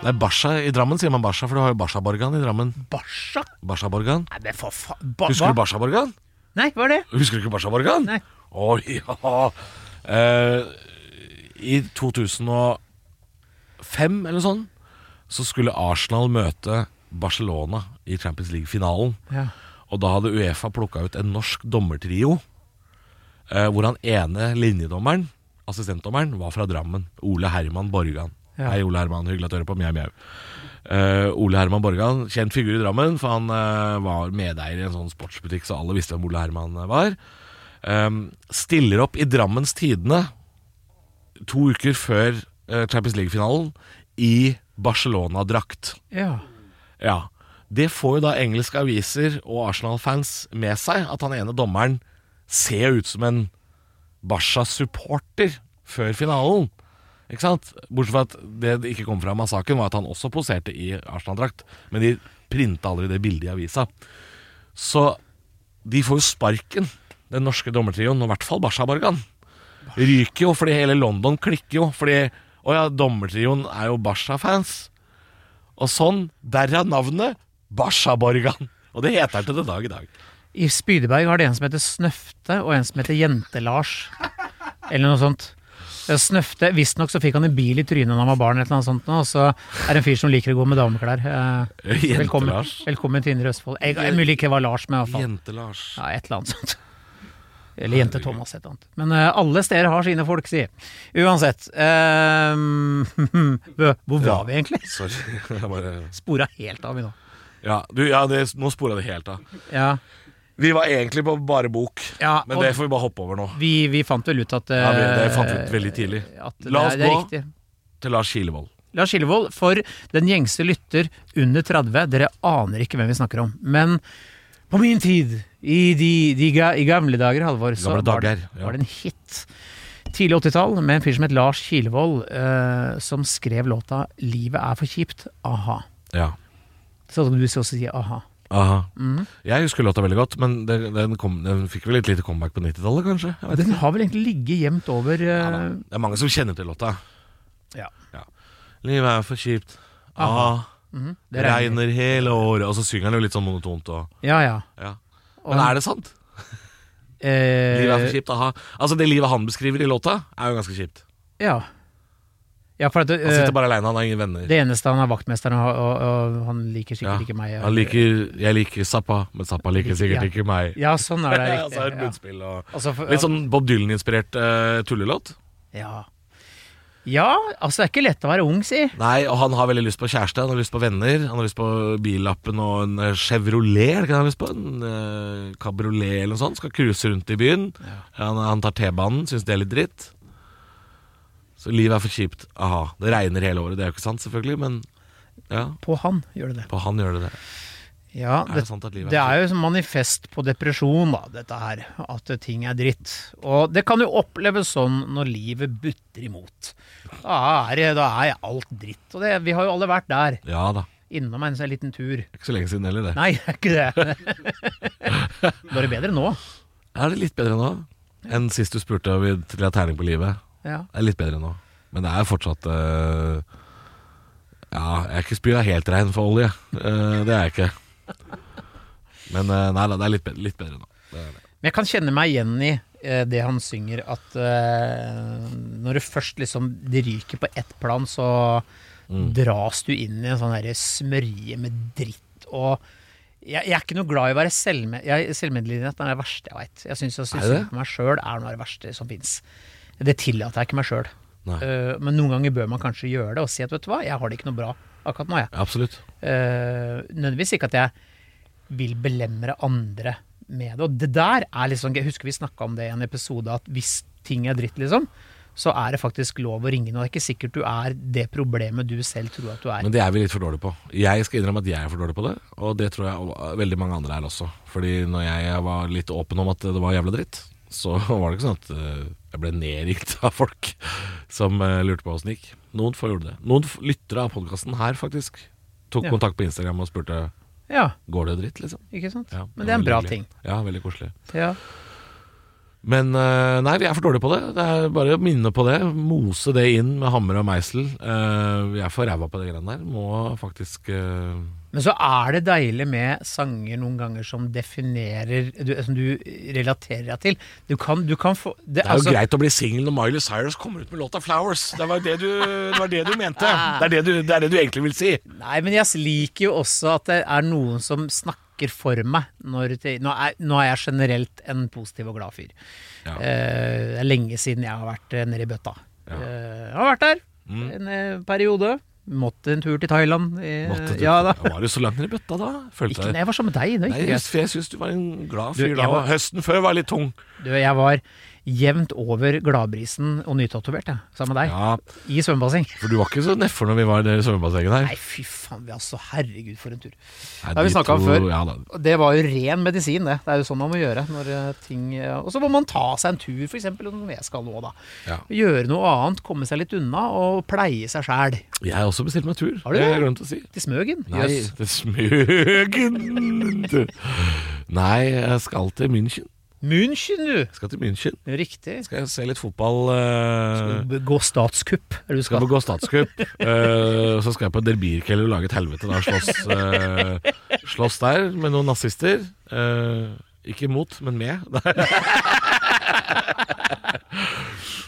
S3: Nei, Barca i Drammen sier man Barca, for du har jo Barca-borgan i Drammen.
S2: Barca?
S3: Barca-borgan.
S2: Nei, men for faen ba,
S3: Husker du
S2: hva?
S3: Barca-borgan?
S2: Nei, hva er det?
S3: Husker du ikke Barca-Borgan?
S2: Nei.
S3: Å ja. Eh, I 2005 eller sånn, så skulle Arsenal møte Barcelona i Champions League-finalen.
S2: Ja.
S3: Og da hadde Uefa plukka ut en norsk dommertrio, eh, hvor han ene linjedommeren, assistentdommeren, var fra Drammen. Ole Herman Borgan.
S2: Ja.
S3: Hei, Ole Herman. Hyggelig at du hører på. Mjau, mjau. Eh, Ole Herman Borgan, kjent figur i Drammen, for han eh, var medeier i en sånn sportsbutikk, så alle visste hvem Ole Herman eh, var. Ehm, stiller opp i Drammens Tidende to uker før eh, Champions League-finalen i Barcelona-drakt.
S2: ja.
S3: Ja. Det får jo da engelske aviser og Arsenal-fans med seg, at han ene dommeren ser ut som en Barca-supporter før finalen. Ikke sant? Bortsett fra at det det ikke kom fram av saken, var at han også poserte i Arsenal-drakt. Men de printa aldri det bildet i avisa. Så de får jo sparken, den norske dommertrioen, og i hvert fall Barca-Borgan. Ryker jo fordi hele London klikker jo, fordi Å ja, dommertrioen er jo Barca-fans. Og sånn, derav navnet Barsaborgan. Og det heter han til den dag i dag.
S2: I Spydeberg har de en som heter Snøfte, og en som heter Jente-Lars. Eller noe sånt. Ja, Snøfte Visstnok så fikk han en bil i trynet da han var barn, eller noe sånt, nå, og så er det en fyr som liker å gå med dameklær.
S3: (laughs)
S2: Eh,
S3: Jente
S2: velkommen,
S3: Lars.
S2: velkommen til Indre Østfold. Jeg, jeg, mulig ikke var Lars, men iallfall
S3: Jente-Lars.
S2: ja, et eller annet sånt. Eller Jente-Thomas, et eller annet. Men eh, alle steder har sine folk, si. Uansett. eh, Bø, (laughs) hvor var vi egentlig?
S3: Sorry. (laughs) Jeg bare...
S2: Spora helt av vi nå.
S3: Ja, du, ja det, nå spora det helt av.
S2: Ja,
S3: Vi var egentlig på bare bok,
S2: Ja,
S3: men
S2: og-
S3: det får vi bare hoppe over nå.
S2: vi, vi fant vel ut at eh,
S3: Ja, vi, det fant vi ut veldig tidlig.
S2: At
S3: La
S2: det, er-
S3: oss
S2: det er
S3: gå.
S2: riktig.
S3: Til Lars Kilevold.
S2: Lars Skillevold, for den gjengse lytter under 30, dere aner ikke hvem vi snakker om. Men på min tid, i, de, de ga, i gamle dager, Halvor, så
S3: Gamle
S2: var, det-
S3: dager, ja.
S2: var det en hit. Tidlig 80-tall med en fyr som het Lars Kilevold, eh, som skrev låta 'Livet er for kjipt', a-ha.
S3: Ja.
S2: Sånn som du også sier a-ha.
S3: Aha. Jeg husker låta veldig godt, men den, den, kom, den fikk vel et lite comeback på 90-tallet, kanskje? Jeg vet
S2: Den
S3: ikke.
S2: har vel egentlig ligget jevnt over eh,
S3: Ja, da. det er mange som kjenner til låta.
S2: ja.
S3: Ja. Livet er for kjipt.
S2: Aha.
S3: Ah, det regner hele året. Og så synger han jo litt sånn monotont. Og,
S2: Ja, ja.
S3: ja. Men er det sant?
S2: Eh,
S3: Livet er for kjipt, aha. Altså Det livet han beskriver i låta, er jo ganske kjipt.
S2: Ja. ja, for at det,
S3: Han
S2: eh,
S3: sitter bare aleine, han har ingen venner.
S2: det eneste han er vaktmesteren, og, og, og han liker
S3: Ja.
S2: sikkert ikke meg.
S3: Han liker, jeg liker Zappa, men Zappa liker
S2: Ja.
S3: sikkert ikke meg.
S2: Ja, sånn er det
S3: Ja, (laughs) så
S2: riktig.
S3: er det munnspill og
S2: Altså, for,
S3: Litt sånn Bob Dylan-inspirert eh, tullelåt.
S2: ja. ja, altså det er ikke lett å være ung, si.
S3: Nei, og han har veldig lyst på kjæreste, han har lyst på venner, han har lyst på billappen og en eh, Chevrolet, er det ikke det han har lyst på? En eh, cabriolet eller noe sånt, skal cruise rundt i byen. Han, han tar T-banen, syns det er litt dritt. Så livet er for kjipt. Aha, det regner hele året, det er jo ikke sant selvfølgelig, men ja,
S2: På han gjør det det.
S3: på han gjør det det.
S2: Ja,
S3: Er
S2: det,
S3: det sant at livet
S2: det
S3: er
S2: er jo som manifest på depresjon, da, dette her. At ting er dritt. Og det kan jo oppleves sånn når livet butter imot. Da er, det- da er alt dritt. Og det, vi har jo alle vært der.
S3: Ja da,
S2: Innom en sånn liten tur.
S3: det er ikke så lenge siden heller det.
S2: Nei, det er ikke det. Da er det bedre nå.
S3: Er det litt bedre nå enn sist du spurte om vi ville ha terning på livet?
S2: Ja.
S3: Det er litt bedre nå. Men det er fortsatt eh, Ja, jeg er ikke spyet helt rein for olje. Eh, det er jeg ikke. Men eh, nei da, det er litt bedre, litt bedre nå. Det er det.
S2: Men jeg kan kjenne meg igjen i eh, det han synger, at eh, når det først liksom det ryker på ett plan, så
S3: Mm.
S2: dras du inn i en sånn derre smørje med dritt og jeg, jeg er ikke noe glad i å være selvme jeg- selvmedlidenhet. Det er det verste jeg veit. Jeg syns å synes
S3: Er det?
S2: synd på meg sjøl er noe av det verste som fins. Det tillater jeg ikke meg sjøl.
S3: Nei.
S2: men noen ganger bør man kanskje gjøre det og si at vet du hva, jeg har det ikke noe bra akkurat nå, jeg.
S3: Absolutt.
S2: Eh, nødvendigvis ikke at jeg vil belemre andre med det. Og det der er litt sånn gøy. Jeg husker vi snakka om det i en episode, at hvis ting er dritt, liksom, så er det faktisk lov å ringe. Og det er ikke sikkert du er det problemet du selv tror at du er.
S3: Men det er vi litt for dårlige på. Jeg skal innrømme at jeg er for dårlig på det, og det tror jeg o- veldig mange andre er også. Fordi når jeg var litt åpen om at det var jævla dritt, så (laughs) var det ikke sånn at eh, jeg ble nedringt av folk som eh, lurte på åssen det gikk. Noen få gjorde det. Noen f- lyttere av podkasten her, faktisk, tok
S2: Ja.
S3: kontakt på Instagram og spurte
S2: Ja,
S3: Går det dritt, liksom?
S2: ikke sant?
S3: Ja,
S2: Men det er en
S3: veldig
S2: bra
S3: hyggelig.
S2: ting.
S3: Ja, veldig koselig.
S2: Ja.
S3: Men eh, nei, vi er for dårlige på det. Det er bare å minne på det. Mose det inn med hammer og meisel. Eh, vi er for ræva på det greiene der. Må faktisk eh,
S2: Men så er det deilig med sanger noen ganger som definerer du, Som du relaterer deg til. Du kan, du kan få altså-
S3: Det er jo greit å bli singel når Miley Cyrus kommer ut med låta 'Flowers'. Det var det du, det var det du mente.
S2: Ah.
S3: Det er det du, det er det du egentlig vil si.
S2: Nei, men jeg liker jo også at det er noen som snakker for meg. Når det, nå, er, nå er jeg generelt en positiv og glad fyr.
S3: Ja.
S2: Eh, det er lenge siden jeg har vært eh, nede i bøtta. Eh, jeg har vært der
S3: Mm.
S2: en eh, periode. Måtte en tur til Thailand. eh,
S3: Måtte du-
S2: ja, da.
S3: Var du så langt ned i bøtta da? Følte
S2: Ikke
S3: jeg
S2: når jeg var sammen med deg. Det er
S3: Nei,
S2: ikke
S3: jeg,
S2: greit.
S3: jeg syns du var en glad
S2: Du,
S3: fyr da.
S2: jeg var-
S3: Høsten før var litt tung.
S2: Du, jeg var jevnt over gladbrisen og nytatovert, jeg, sammen med deg.
S3: Ja,
S2: I svømmebasseng.
S3: For du var ikke så nedfor når vi var nede i svømmebassenget der.
S2: Nei, fy faen, vi altså, herregud for en tur.
S3: Nei,
S2: det har vi
S3: de
S2: snakket om
S3: to-
S2: før.
S3: Ja, da.
S2: Og Det var jo ren medisin, det. Det er jo sånn man må gjøre. Når eh, ting, eh, og så må man ta seg en tur, f.eks. når jeg skal nå, da.
S3: Ja.
S2: Gjøre noe annet, komme seg litt unna og pleie seg sjæl.
S3: Jeg har også bestilt meg tur.
S2: Har du
S3: Det har
S2: det?
S3: jeg glemt å si.
S2: Til Smøgen.
S3: Nei,
S2: Jøss.
S3: det smøgen du. Nei, jeg skal til München.
S2: München, du.
S3: Jeg skal til München.
S2: Riktig.
S3: Skal jeg se litt fotball. eh,
S2: Gå statskupp. Er det du
S3: skal
S2: skal.
S3: på gå statscup. eh, så skal jeg på derbirkveld og lage et helvete. Da slåss, eh, slåss der med noen nazister. Eh, ikke mot, men med. (laughs)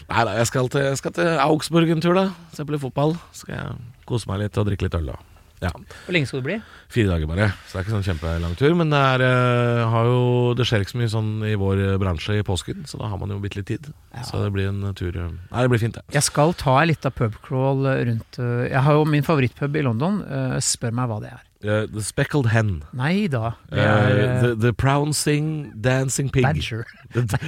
S3: Nei da, jeg skal til, jeg skal til Augsburg en tur, da. Se på litt fotball. Skal jeg kose meg litt og drikke litt øl, da. Ja.
S2: Hvor lenge skal du bli?
S3: Fire dager bare, så det er ikke sånn kjempelang tur. Men det, er, eh, har jo, det skjer ikke så mye sånn i vår eh, bransje i påsken, så da har man jo bitte litt tid. Så det blir en eh, tur eh, Nei, det blir fint, det.
S2: Jeg skal ta ei lita pubcrawl rundt eh, Jeg har jo min favorittpub i London. eh, Spør meg hva det er.
S3: Eh, the Speckled Hen.
S2: Nei da.
S3: Eh,
S2: Det er eh,
S3: the, the Prouncing Dancing Pig.
S2: Badger.
S3: (laughs) The, the,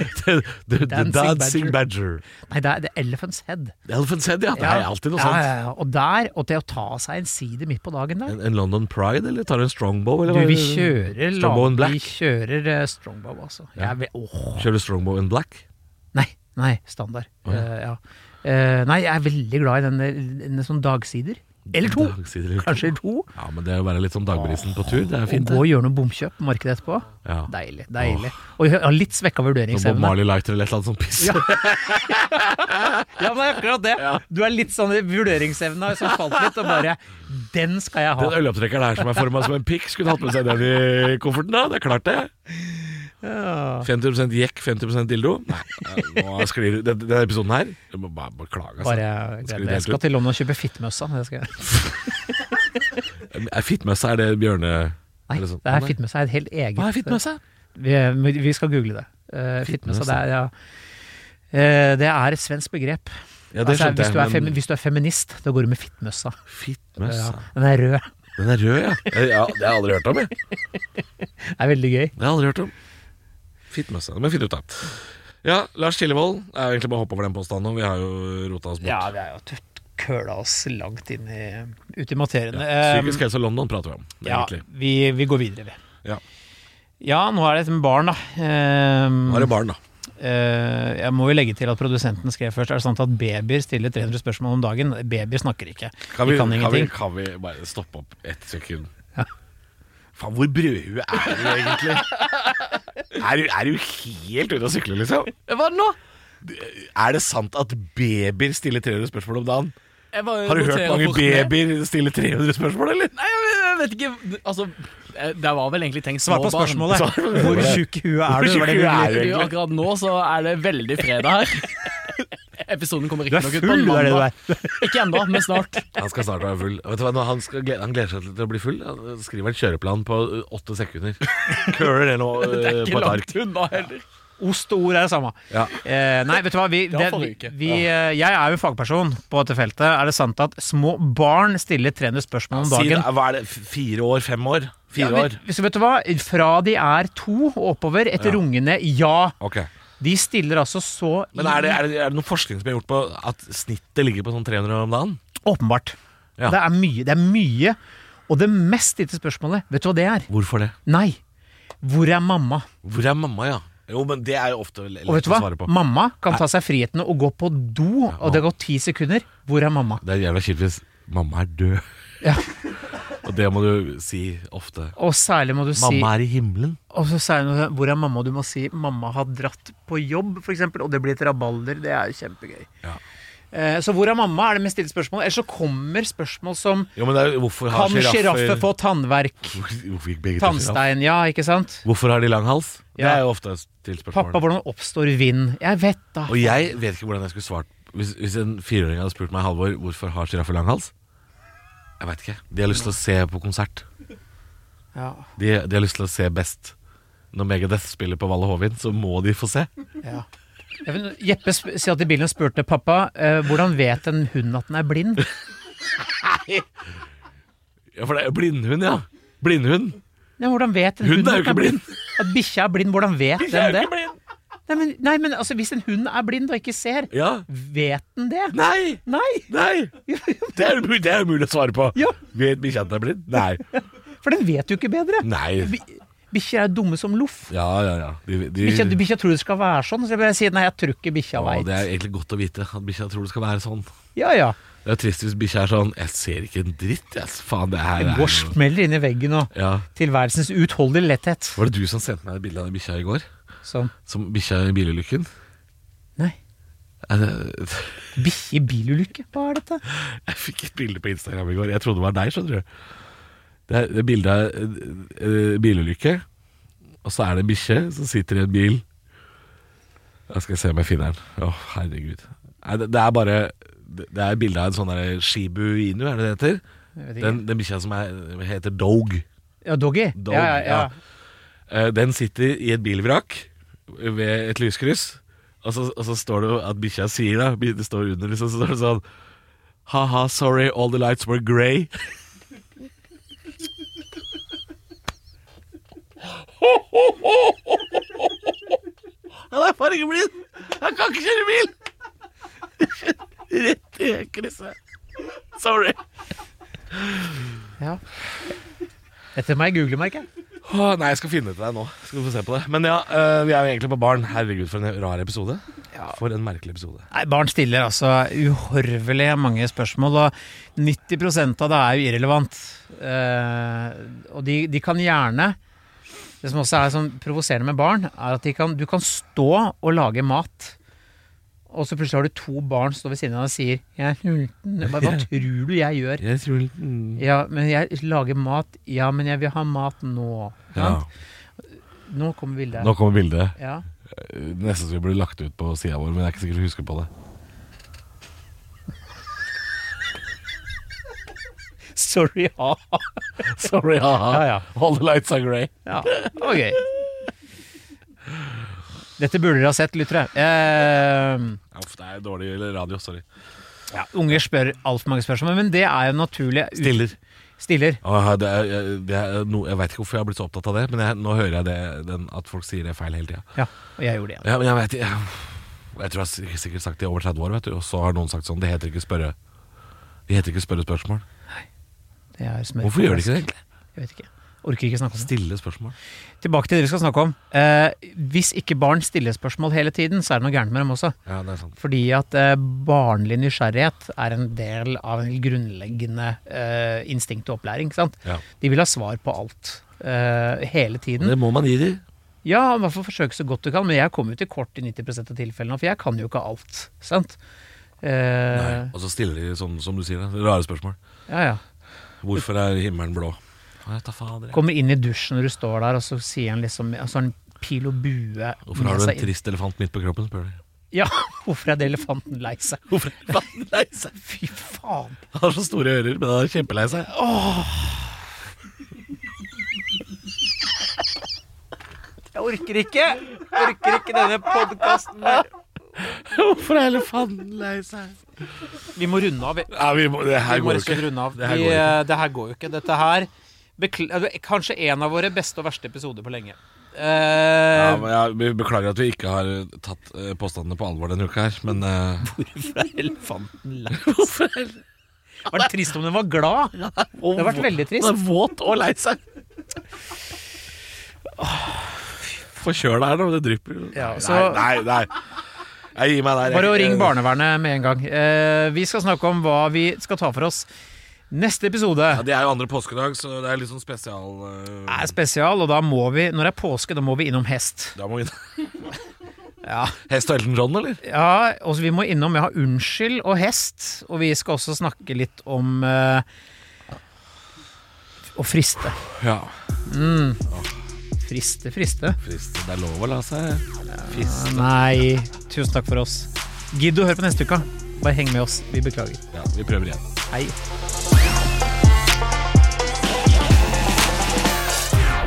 S3: the, the
S2: Dancing
S3: Dancing, Badger.
S2: Nei, det er The Elephant's Head.
S3: Elephant's Head, ja. Det er alltid noe
S2: ja,
S3: sånt.
S2: Ja, ja. Og der, og det å ta seg en side midt på dagen der
S3: En, en London Pride, eller tar du en Strongbow?
S2: Du,
S3: Eller
S2: vi
S3: hva?
S2: kjører
S3: Strongbow and
S2: Vi
S3: Black.
S2: kjører eh, Strongbow, altså. Jeg vil, åh.
S3: Kjører du Strongbow and Black?
S2: Nei, nei, standard. Eh, ja. Eh, nei, jeg er veldig glad i denne, denne sånn dagsider. Eller to.
S3: Dagsider eller to.
S2: Kanskje to.
S3: Ja, men det er å være litt sånn dagbrisen på tur, det er
S2: Og
S3: fint.
S2: gå
S3: det.
S2: og gjøre noe bomkjøp på markedet etterpå.
S3: Ja.
S2: oh Deilig. deilig. Og jeg har litt svekka
S3: Noe Bob
S2: vurderingsevne.
S3: Marley Lighter eller et eller annet sånt piss.
S2: Ja, men det er akkurat det. Du er litt sånn i vurderingsevna som falt litt, og bare Den skal jeg ha.
S3: Den ølopptrekkeren her som er forma som en pikk, skulle hatt med seg den i kofferten, da. Det er klart, det. 50 jekk, 50 dildo. Nei, nå sklir det. Denne episoden her Du må bare beklage, altså.
S2: Bare glem det. Jeg skal til London og kjøpe fittmøssa. Det skal jeg.
S3: Er Fittmøsse, er det bjørne...
S2: Nei,
S3: eller sånn?
S2: det er
S3: Nei.
S2: Fitmessa er et helt eget
S3: Hva er fittmøsse?
S2: Vi, vi skal google det. Uh, Fitmessa,
S3: Fitmessa.
S2: det er ja. Eh, Det er et svensk begrep.
S3: Ja, det
S2: Altså,
S3: skjønte
S2: hvis, du er
S3: jeg,
S2: femi-
S3: men
S2: hvis du er feminist, da går du med fittmøssa.
S3: fittmøsse
S2: Den er rød.
S3: Den er rød, ja. ja. Det har jeg aldri hørt om, jeg.
S2: Det er veldig gøy.
S3: Det har jeg aldri hørt om. Fittmøsse. Det må jeg finne ut av. Ja, Lars Killevold. Det er jo egentlig bare å hoppe over den påstanden nå. Vi har jo rota oss bort.
S2: Ja, vi er jo tøft køla oss langt inn i, ut i materien.
S3: Psykisk helse og London prater vi om,
S2: ehm, ja,
S3: egentlig.
S2: vi, vi går videre, vi.
S3: Ja.
S2: Ja, nå er det et barn, da. Ehm,
S3: Nå er det barn, da.
S2: Eh, jeg må jo legge til at produsenten skrev først Er det sant at babyer stiller 300 spørsmål om dagen. Babyer snakker ikke.
S3: Kan vi,
S2: de kan
S3: kan, vi,
S2: ingenting.
S3: kan vi bare stoppe opp ett sekund? Faen, hvor brødhue er du egentlig? er, du, er du helt ute å sykle, liksom?
S2: Hva nå?
S3: Er det sant at babyer stiller 300 spørsmål om dagen? Har du hørt mange babyer stille 300 spørsmål, eller?
S5: Nei, jeg, jeg vet ikke Altså, eh, det var vel egentlig tenkt
S2: Svar
S5: små
S2: på
S5: barn.
S2: spørsmålet.
S3: Svar på
S2: Hvor
S3: spørsmålet.
S2: tjukk i huet er du?
S3: Hvor
S2: Var det
S3: tjukk i huet er
S2: du ville?
S3: du?
S5: Du, akkurat nå så er det veldig fredag
S3: (laughs)
S5: her. Episoden kommer
S2: Du er
S5: riktignok ut på
S2: full, du er det du
S5: mandag.
S2: er.
S5: Ikke ennå, men snart.
S3: Han skal snart være full. Vet du hva, nå, han, skal, glede- han gleder seg til å bli full. Han skriver en kjøreplan på ø, åtte sekunder. Køler det nå ø, på
S5: Ikke
S3: et
S5: langt
S3: ark.
S5: unna heller.
S2: Ost og ord er det samme.
S3: Ja.
S2: Eh, nei, vet du hva. Vi,
S5: var
S2: det-
S5: forrige uke.
S2: vi, eh, jeg er jo fagperson på dette feltet. Er det sant at små barn stiller 300 spørsmål om
S3: Si,
S2: dagen?
S3: hva er det, f- fire år? Fem år?
S2: Ja,
S3: Fire
S2: men-
S3: år?
S2: så vet du hva? Fra de er to og oppover, etter rungende ja.
S3: Ok.
S2: De stiller altså så
S3: Men er det, er, det, er det noen forskning som er gjort på at snittet ligger på sånn 300 om dagen?
S2: Åpenbart.
S3: Ja.
S2: Det er mye. Det er mye. Og det mest stilte spørsmålet, vet du hva det er?
S3: Hvorfor det?
S2: Nei. Hvor er mamma?
S3: Hvor er mamma, ja? Jo, men det er jo ofte le-
S2: Og vet
S3: lett
S2: du
S3: å
S2: hva?
S3: svare på.
S2: Mamma kan ta seg frihetene og gå på do, og det går ti sekunder. Hvor er mamma?
S3: Det er jævla kjipt hvis mamma er død.
S2: Ja.
S3: Og det må du si ofte.
S2: Og særlig må du si
S3: Mamma er i himmelen.
S2: Og så sier hun hvor er mamma, og du må si mamma har dratt på jobb, f.eks., og det blir et rabalder. Det er jo kjempegøy.
S3: Ja.
S2: Eh, Så hvor er mamma? er det med stille spørsmål. Eller så kommer spørsmål som
S3: Jo, men det er, jo- hvorfor har
S2: Kan sjiraffer
S3: sjiraffer
S2: få tannverk?
S3: Hvorfor gikk begge til sjiraff?
S2: Tannstein, ja, ikke sant?
S3: Hvorfor har de lang hals? Det
S2: Ja.
S3: er jo ofte et stilt spørsmål.
S2: Pappa, hvordan oppstår vind? Jeg vet da.
S3: Og jeg vet ikke hvordan jeg skulle svart hvis, hvis en fireåring hadde spurt meg Halvor hvorfor har sjiraffer lang hals. Jeg veit ikke. De har lyst til å se på konsert.
S2: Ja,
S3: De, de har lyst til å se Best. Når Megadeth spiller på Valle Hovin, så må de få se.
S2: ja. Jeg vet, Jeppe sp- satt i bilen og spurte pappa eh, hvordan vet en hund at den er
S3: (laughs)
S2: blind.
S3: Ja, for det er jo blindhund, ja. Blindhund.
S2: Nei, hvordan vet en
S3: Hunden
S2: hund
S3: er jo
S2: at den
S3: ikke blind.
S2: At bikkja er blind, hvordan vet
S3: Bikkja
S2: den
S3: er jo
S2: det?
S3: ikke blind.
S2: Nei, men, nei, men altså, hvis en hund er blind og ikke ser,
S3: Ja.
S2: vet den det?
S3: Nei!
S2: Nei! (laughs)
S3: Nei! Det er umul- det er umulig å svare på.
S2: Ja.
S3: Vet bikkja at den er blind? Nei.
S2: For den vet jo ikke bedre.
S3: Nei.
S2: Bi- Bikkjer er dumme som loff.
S3: Ja, ja, ja. De, de,
S2: Bikkja bikkja tror det skal være sånn, så jeg bare sier nei, jeg tror ikke bikkja
S3: Å,
S2: veit.
S3: det er egentlig godt å vite at bikkja tror det skal være sånn.
S2: Ja ja.
S3: Det er jo trist hvis bikkja er sånn Jeg ser ikke en dritt, jeg. Faen, det her
S2: Den
S3: er
S2: går
S3: jo-
S2: smeller inn i veggen og
S3: ja.
S2: tilværelsens uutholdelige letthet.
S3: Var det du som sendte meg et bilde av den bikkja i går?
S2: Sånn.
S3: Som bikkja i bilulykken?
S2: Nei.
S3: Er det-
S2: Bikkje i bilulykke? Hva er dette?
S3: (laughs) Jeg fikk et bilde på Instagram i går. Jeg trodde det var deg, skjønner du. Det er det er bilde av eh, eh, bilulykke, og så er det en bikkje som sitter i en bil. Jeg skal se om jeg finner den. Å, herregud. Nei, det, det er bare Det det er bilde av en sånn der Shibu Inu, er det det heter?
S2: Jeg vet ikke.
S3: Den, den bikkja som er, heter Dog.
S2: Ja, doggy.
S3: Dog,
S2: ja, ja, ja.
S3: ja. Eh, Den sitter i et bilvrak ved et lyskryss, og så, og så står det jo at bikkja sier da Det står under, liksom, så står det sånn Ha-ha, sorry, all the lights were grey. Han er bare ikke blind! Han kan ikke kjøre bil! Rett i krysset. Sorry.
S2: ja. Dette må jeg google, merker jeg.
S3: Åh, nei, jeg skal finne det til deg nå. Skal du få se på det Men ja, øh, vi er jo egentlig på barn. Herregud, for en rar episode. For en merkelig episode.
S2: Nei, Barn stiller altså uhorvelig mange spørsmål, og 90 av det er jo irrelevant. Eh, og de, de kan gjerne Det som også er sånn provoserende med barn, er at de kan, du kan stå og lage mat, og så plutselig har du to barn som står ved siden av deg og sier 'Jeg er sulten'. Jeg bare, (laughs) Hva tror du jeg gjør?
S3: Jeg tror
S2: Ja, men jeg lager mat. Ja, men jeg vil ha mat nå.
S3: ja.
S2: Sant? Nå kommer bildet.
S3: Nå kommer bildet.
S2: Ja.
S3: Øh, Nesten så vi burde lagt det ut på sida vår, men jeg er ikke sikker vi husker på det. (laughs)
S2: Sorry, ha.
S3: Sorry, haha.
S2: Ja, ja.
S3: All the lights are grey.
S2: Ja, ok. Dette burde dere ha sett, lyttere. Eh,
S3: Uff, det er dårlig radio. Sorry.
S2: ja, unger spør altfor mange spørsmål, men det er jo naturlig.
S3: Stiller.
S2: Stiller.
S3: Åh, det er, det er no, jeg veit ikke hvorfor jeg har blitt så opptatt av det, men jeg, nå hører jeg det, den, at folk sier det feil hele tida.
S2: Ja, og jeg gjorde det igjen.
S3: Ja, men jeg vet jeg, jeg tror jeg har s- sikkert sagt det i over 30 år, vet du. Og så har noen sagt sånn Det heter ikke spørre. Det heter ikke spørre spørsmål.
S2: Det er smør.
S3: Hvorfor gjør de ikke det egentlig?
S2: Jeg vet ikke. Orker ikke snakke om det.
S3: Stille spørsmål.
S2: Tilbake til det vi skal snakke om. Eh, hvis ikke barn stiller spørsmål hele tiden, så er det noe gærent med dem også.
S3: Ja, det er sant.
S2: Fordi at eh, barnlig nysgjerrighet er en del av en grunnleggende eh, instinkt og opplæring. ikke Sant?
S3: Ja.
S2: De vil ha svar på alt. eh, hele tiden.
S3: Det må man gi de.
S2: Ja, i hvert fall forsøke så godt du kan, men jeg kommer jo til kort i 90 av tilfellene, for jeg kan jo ikke alt. Sant? Eh,
S3: Og så stiller de sånn som du sier det. Rare spørsmål.
S2: ja, ja.
S3: Hvorfor er himmelen blå? Jeg tar fader, jeg.
S2: Kommer inn i dusjen når du står der, og så sier han liksom og så har han pil og bue
S3: Hvorfor
S2: med
S3: har du
S2: seg
S3: en
S2: inn.
S3: trist elefant midt på kroppen? spør de.
S2: Ja, (laughs) hvorfor er det elefanten lei seg?
S3: Hvorfor er elefanten lei seg?
S2: (laughs) Fy faen!
S3: Han har så store ører, men han er kjempelei seg. Åh,
S2: Jeg orker ikke! Orker ikke denne podkasten der.
S3: hvorfor er elefanten lei seg?
S2: Vi må runde av. vi.
S3: Ja, vi må, det her
S2: Vi må
S3: går jo
S2: rett og slett
S3: ikke.
S2: runde av.
S3: Det her
S2: Vi,
S3: går jo
S2: eh, det her går jo ikke. Dette her bekl altså, Kanskje en av våre beste og verste episoder på lenge. Eh,
S3: Ja, men jeg vi beklager at vi ikke har eh, tatt eh, påstandene på alvor denne uka her, men (laughs) eh,
S2: Hvorfor er elefanten lei seg? Var det trist om den var glad? Det har vært veldig
S3: Han
S2: trist.
S3: er våt og lei seg. Forkjøl deg her nå, det drypper.
S2: Ja,
S3: Nei,
S2: så-
S3: nei, nei, Jeg gir meg der.
S2: Bare å ringe barnevernet med en gang. Eh, vi skal snakke om hva vi skal ta for oss. Neste episode
S3: Ja, det er jo andre påskedag, så det er litt sånn spesial eh,
S2: er spesial, og da må vi, når det er påske, da må vi innom hest.
S3: Da må vi
S2: Ja.
S3: Hest og Elton John, eller?
S2: Ja, også vi må innom Jeg har unnskyld og hest, og vi skal også snakke litt om eh, å friste.
S3: Ja.
S2: Friste, friste.
S3: Frist. Det er lov å la seg fiste.
S2: Nei, tusen takk for oss. Gidd å høre på neste uke. Bare heng med oss. Vi beklager.
S3: Ja, vi prøver igjen.
S2: Hei.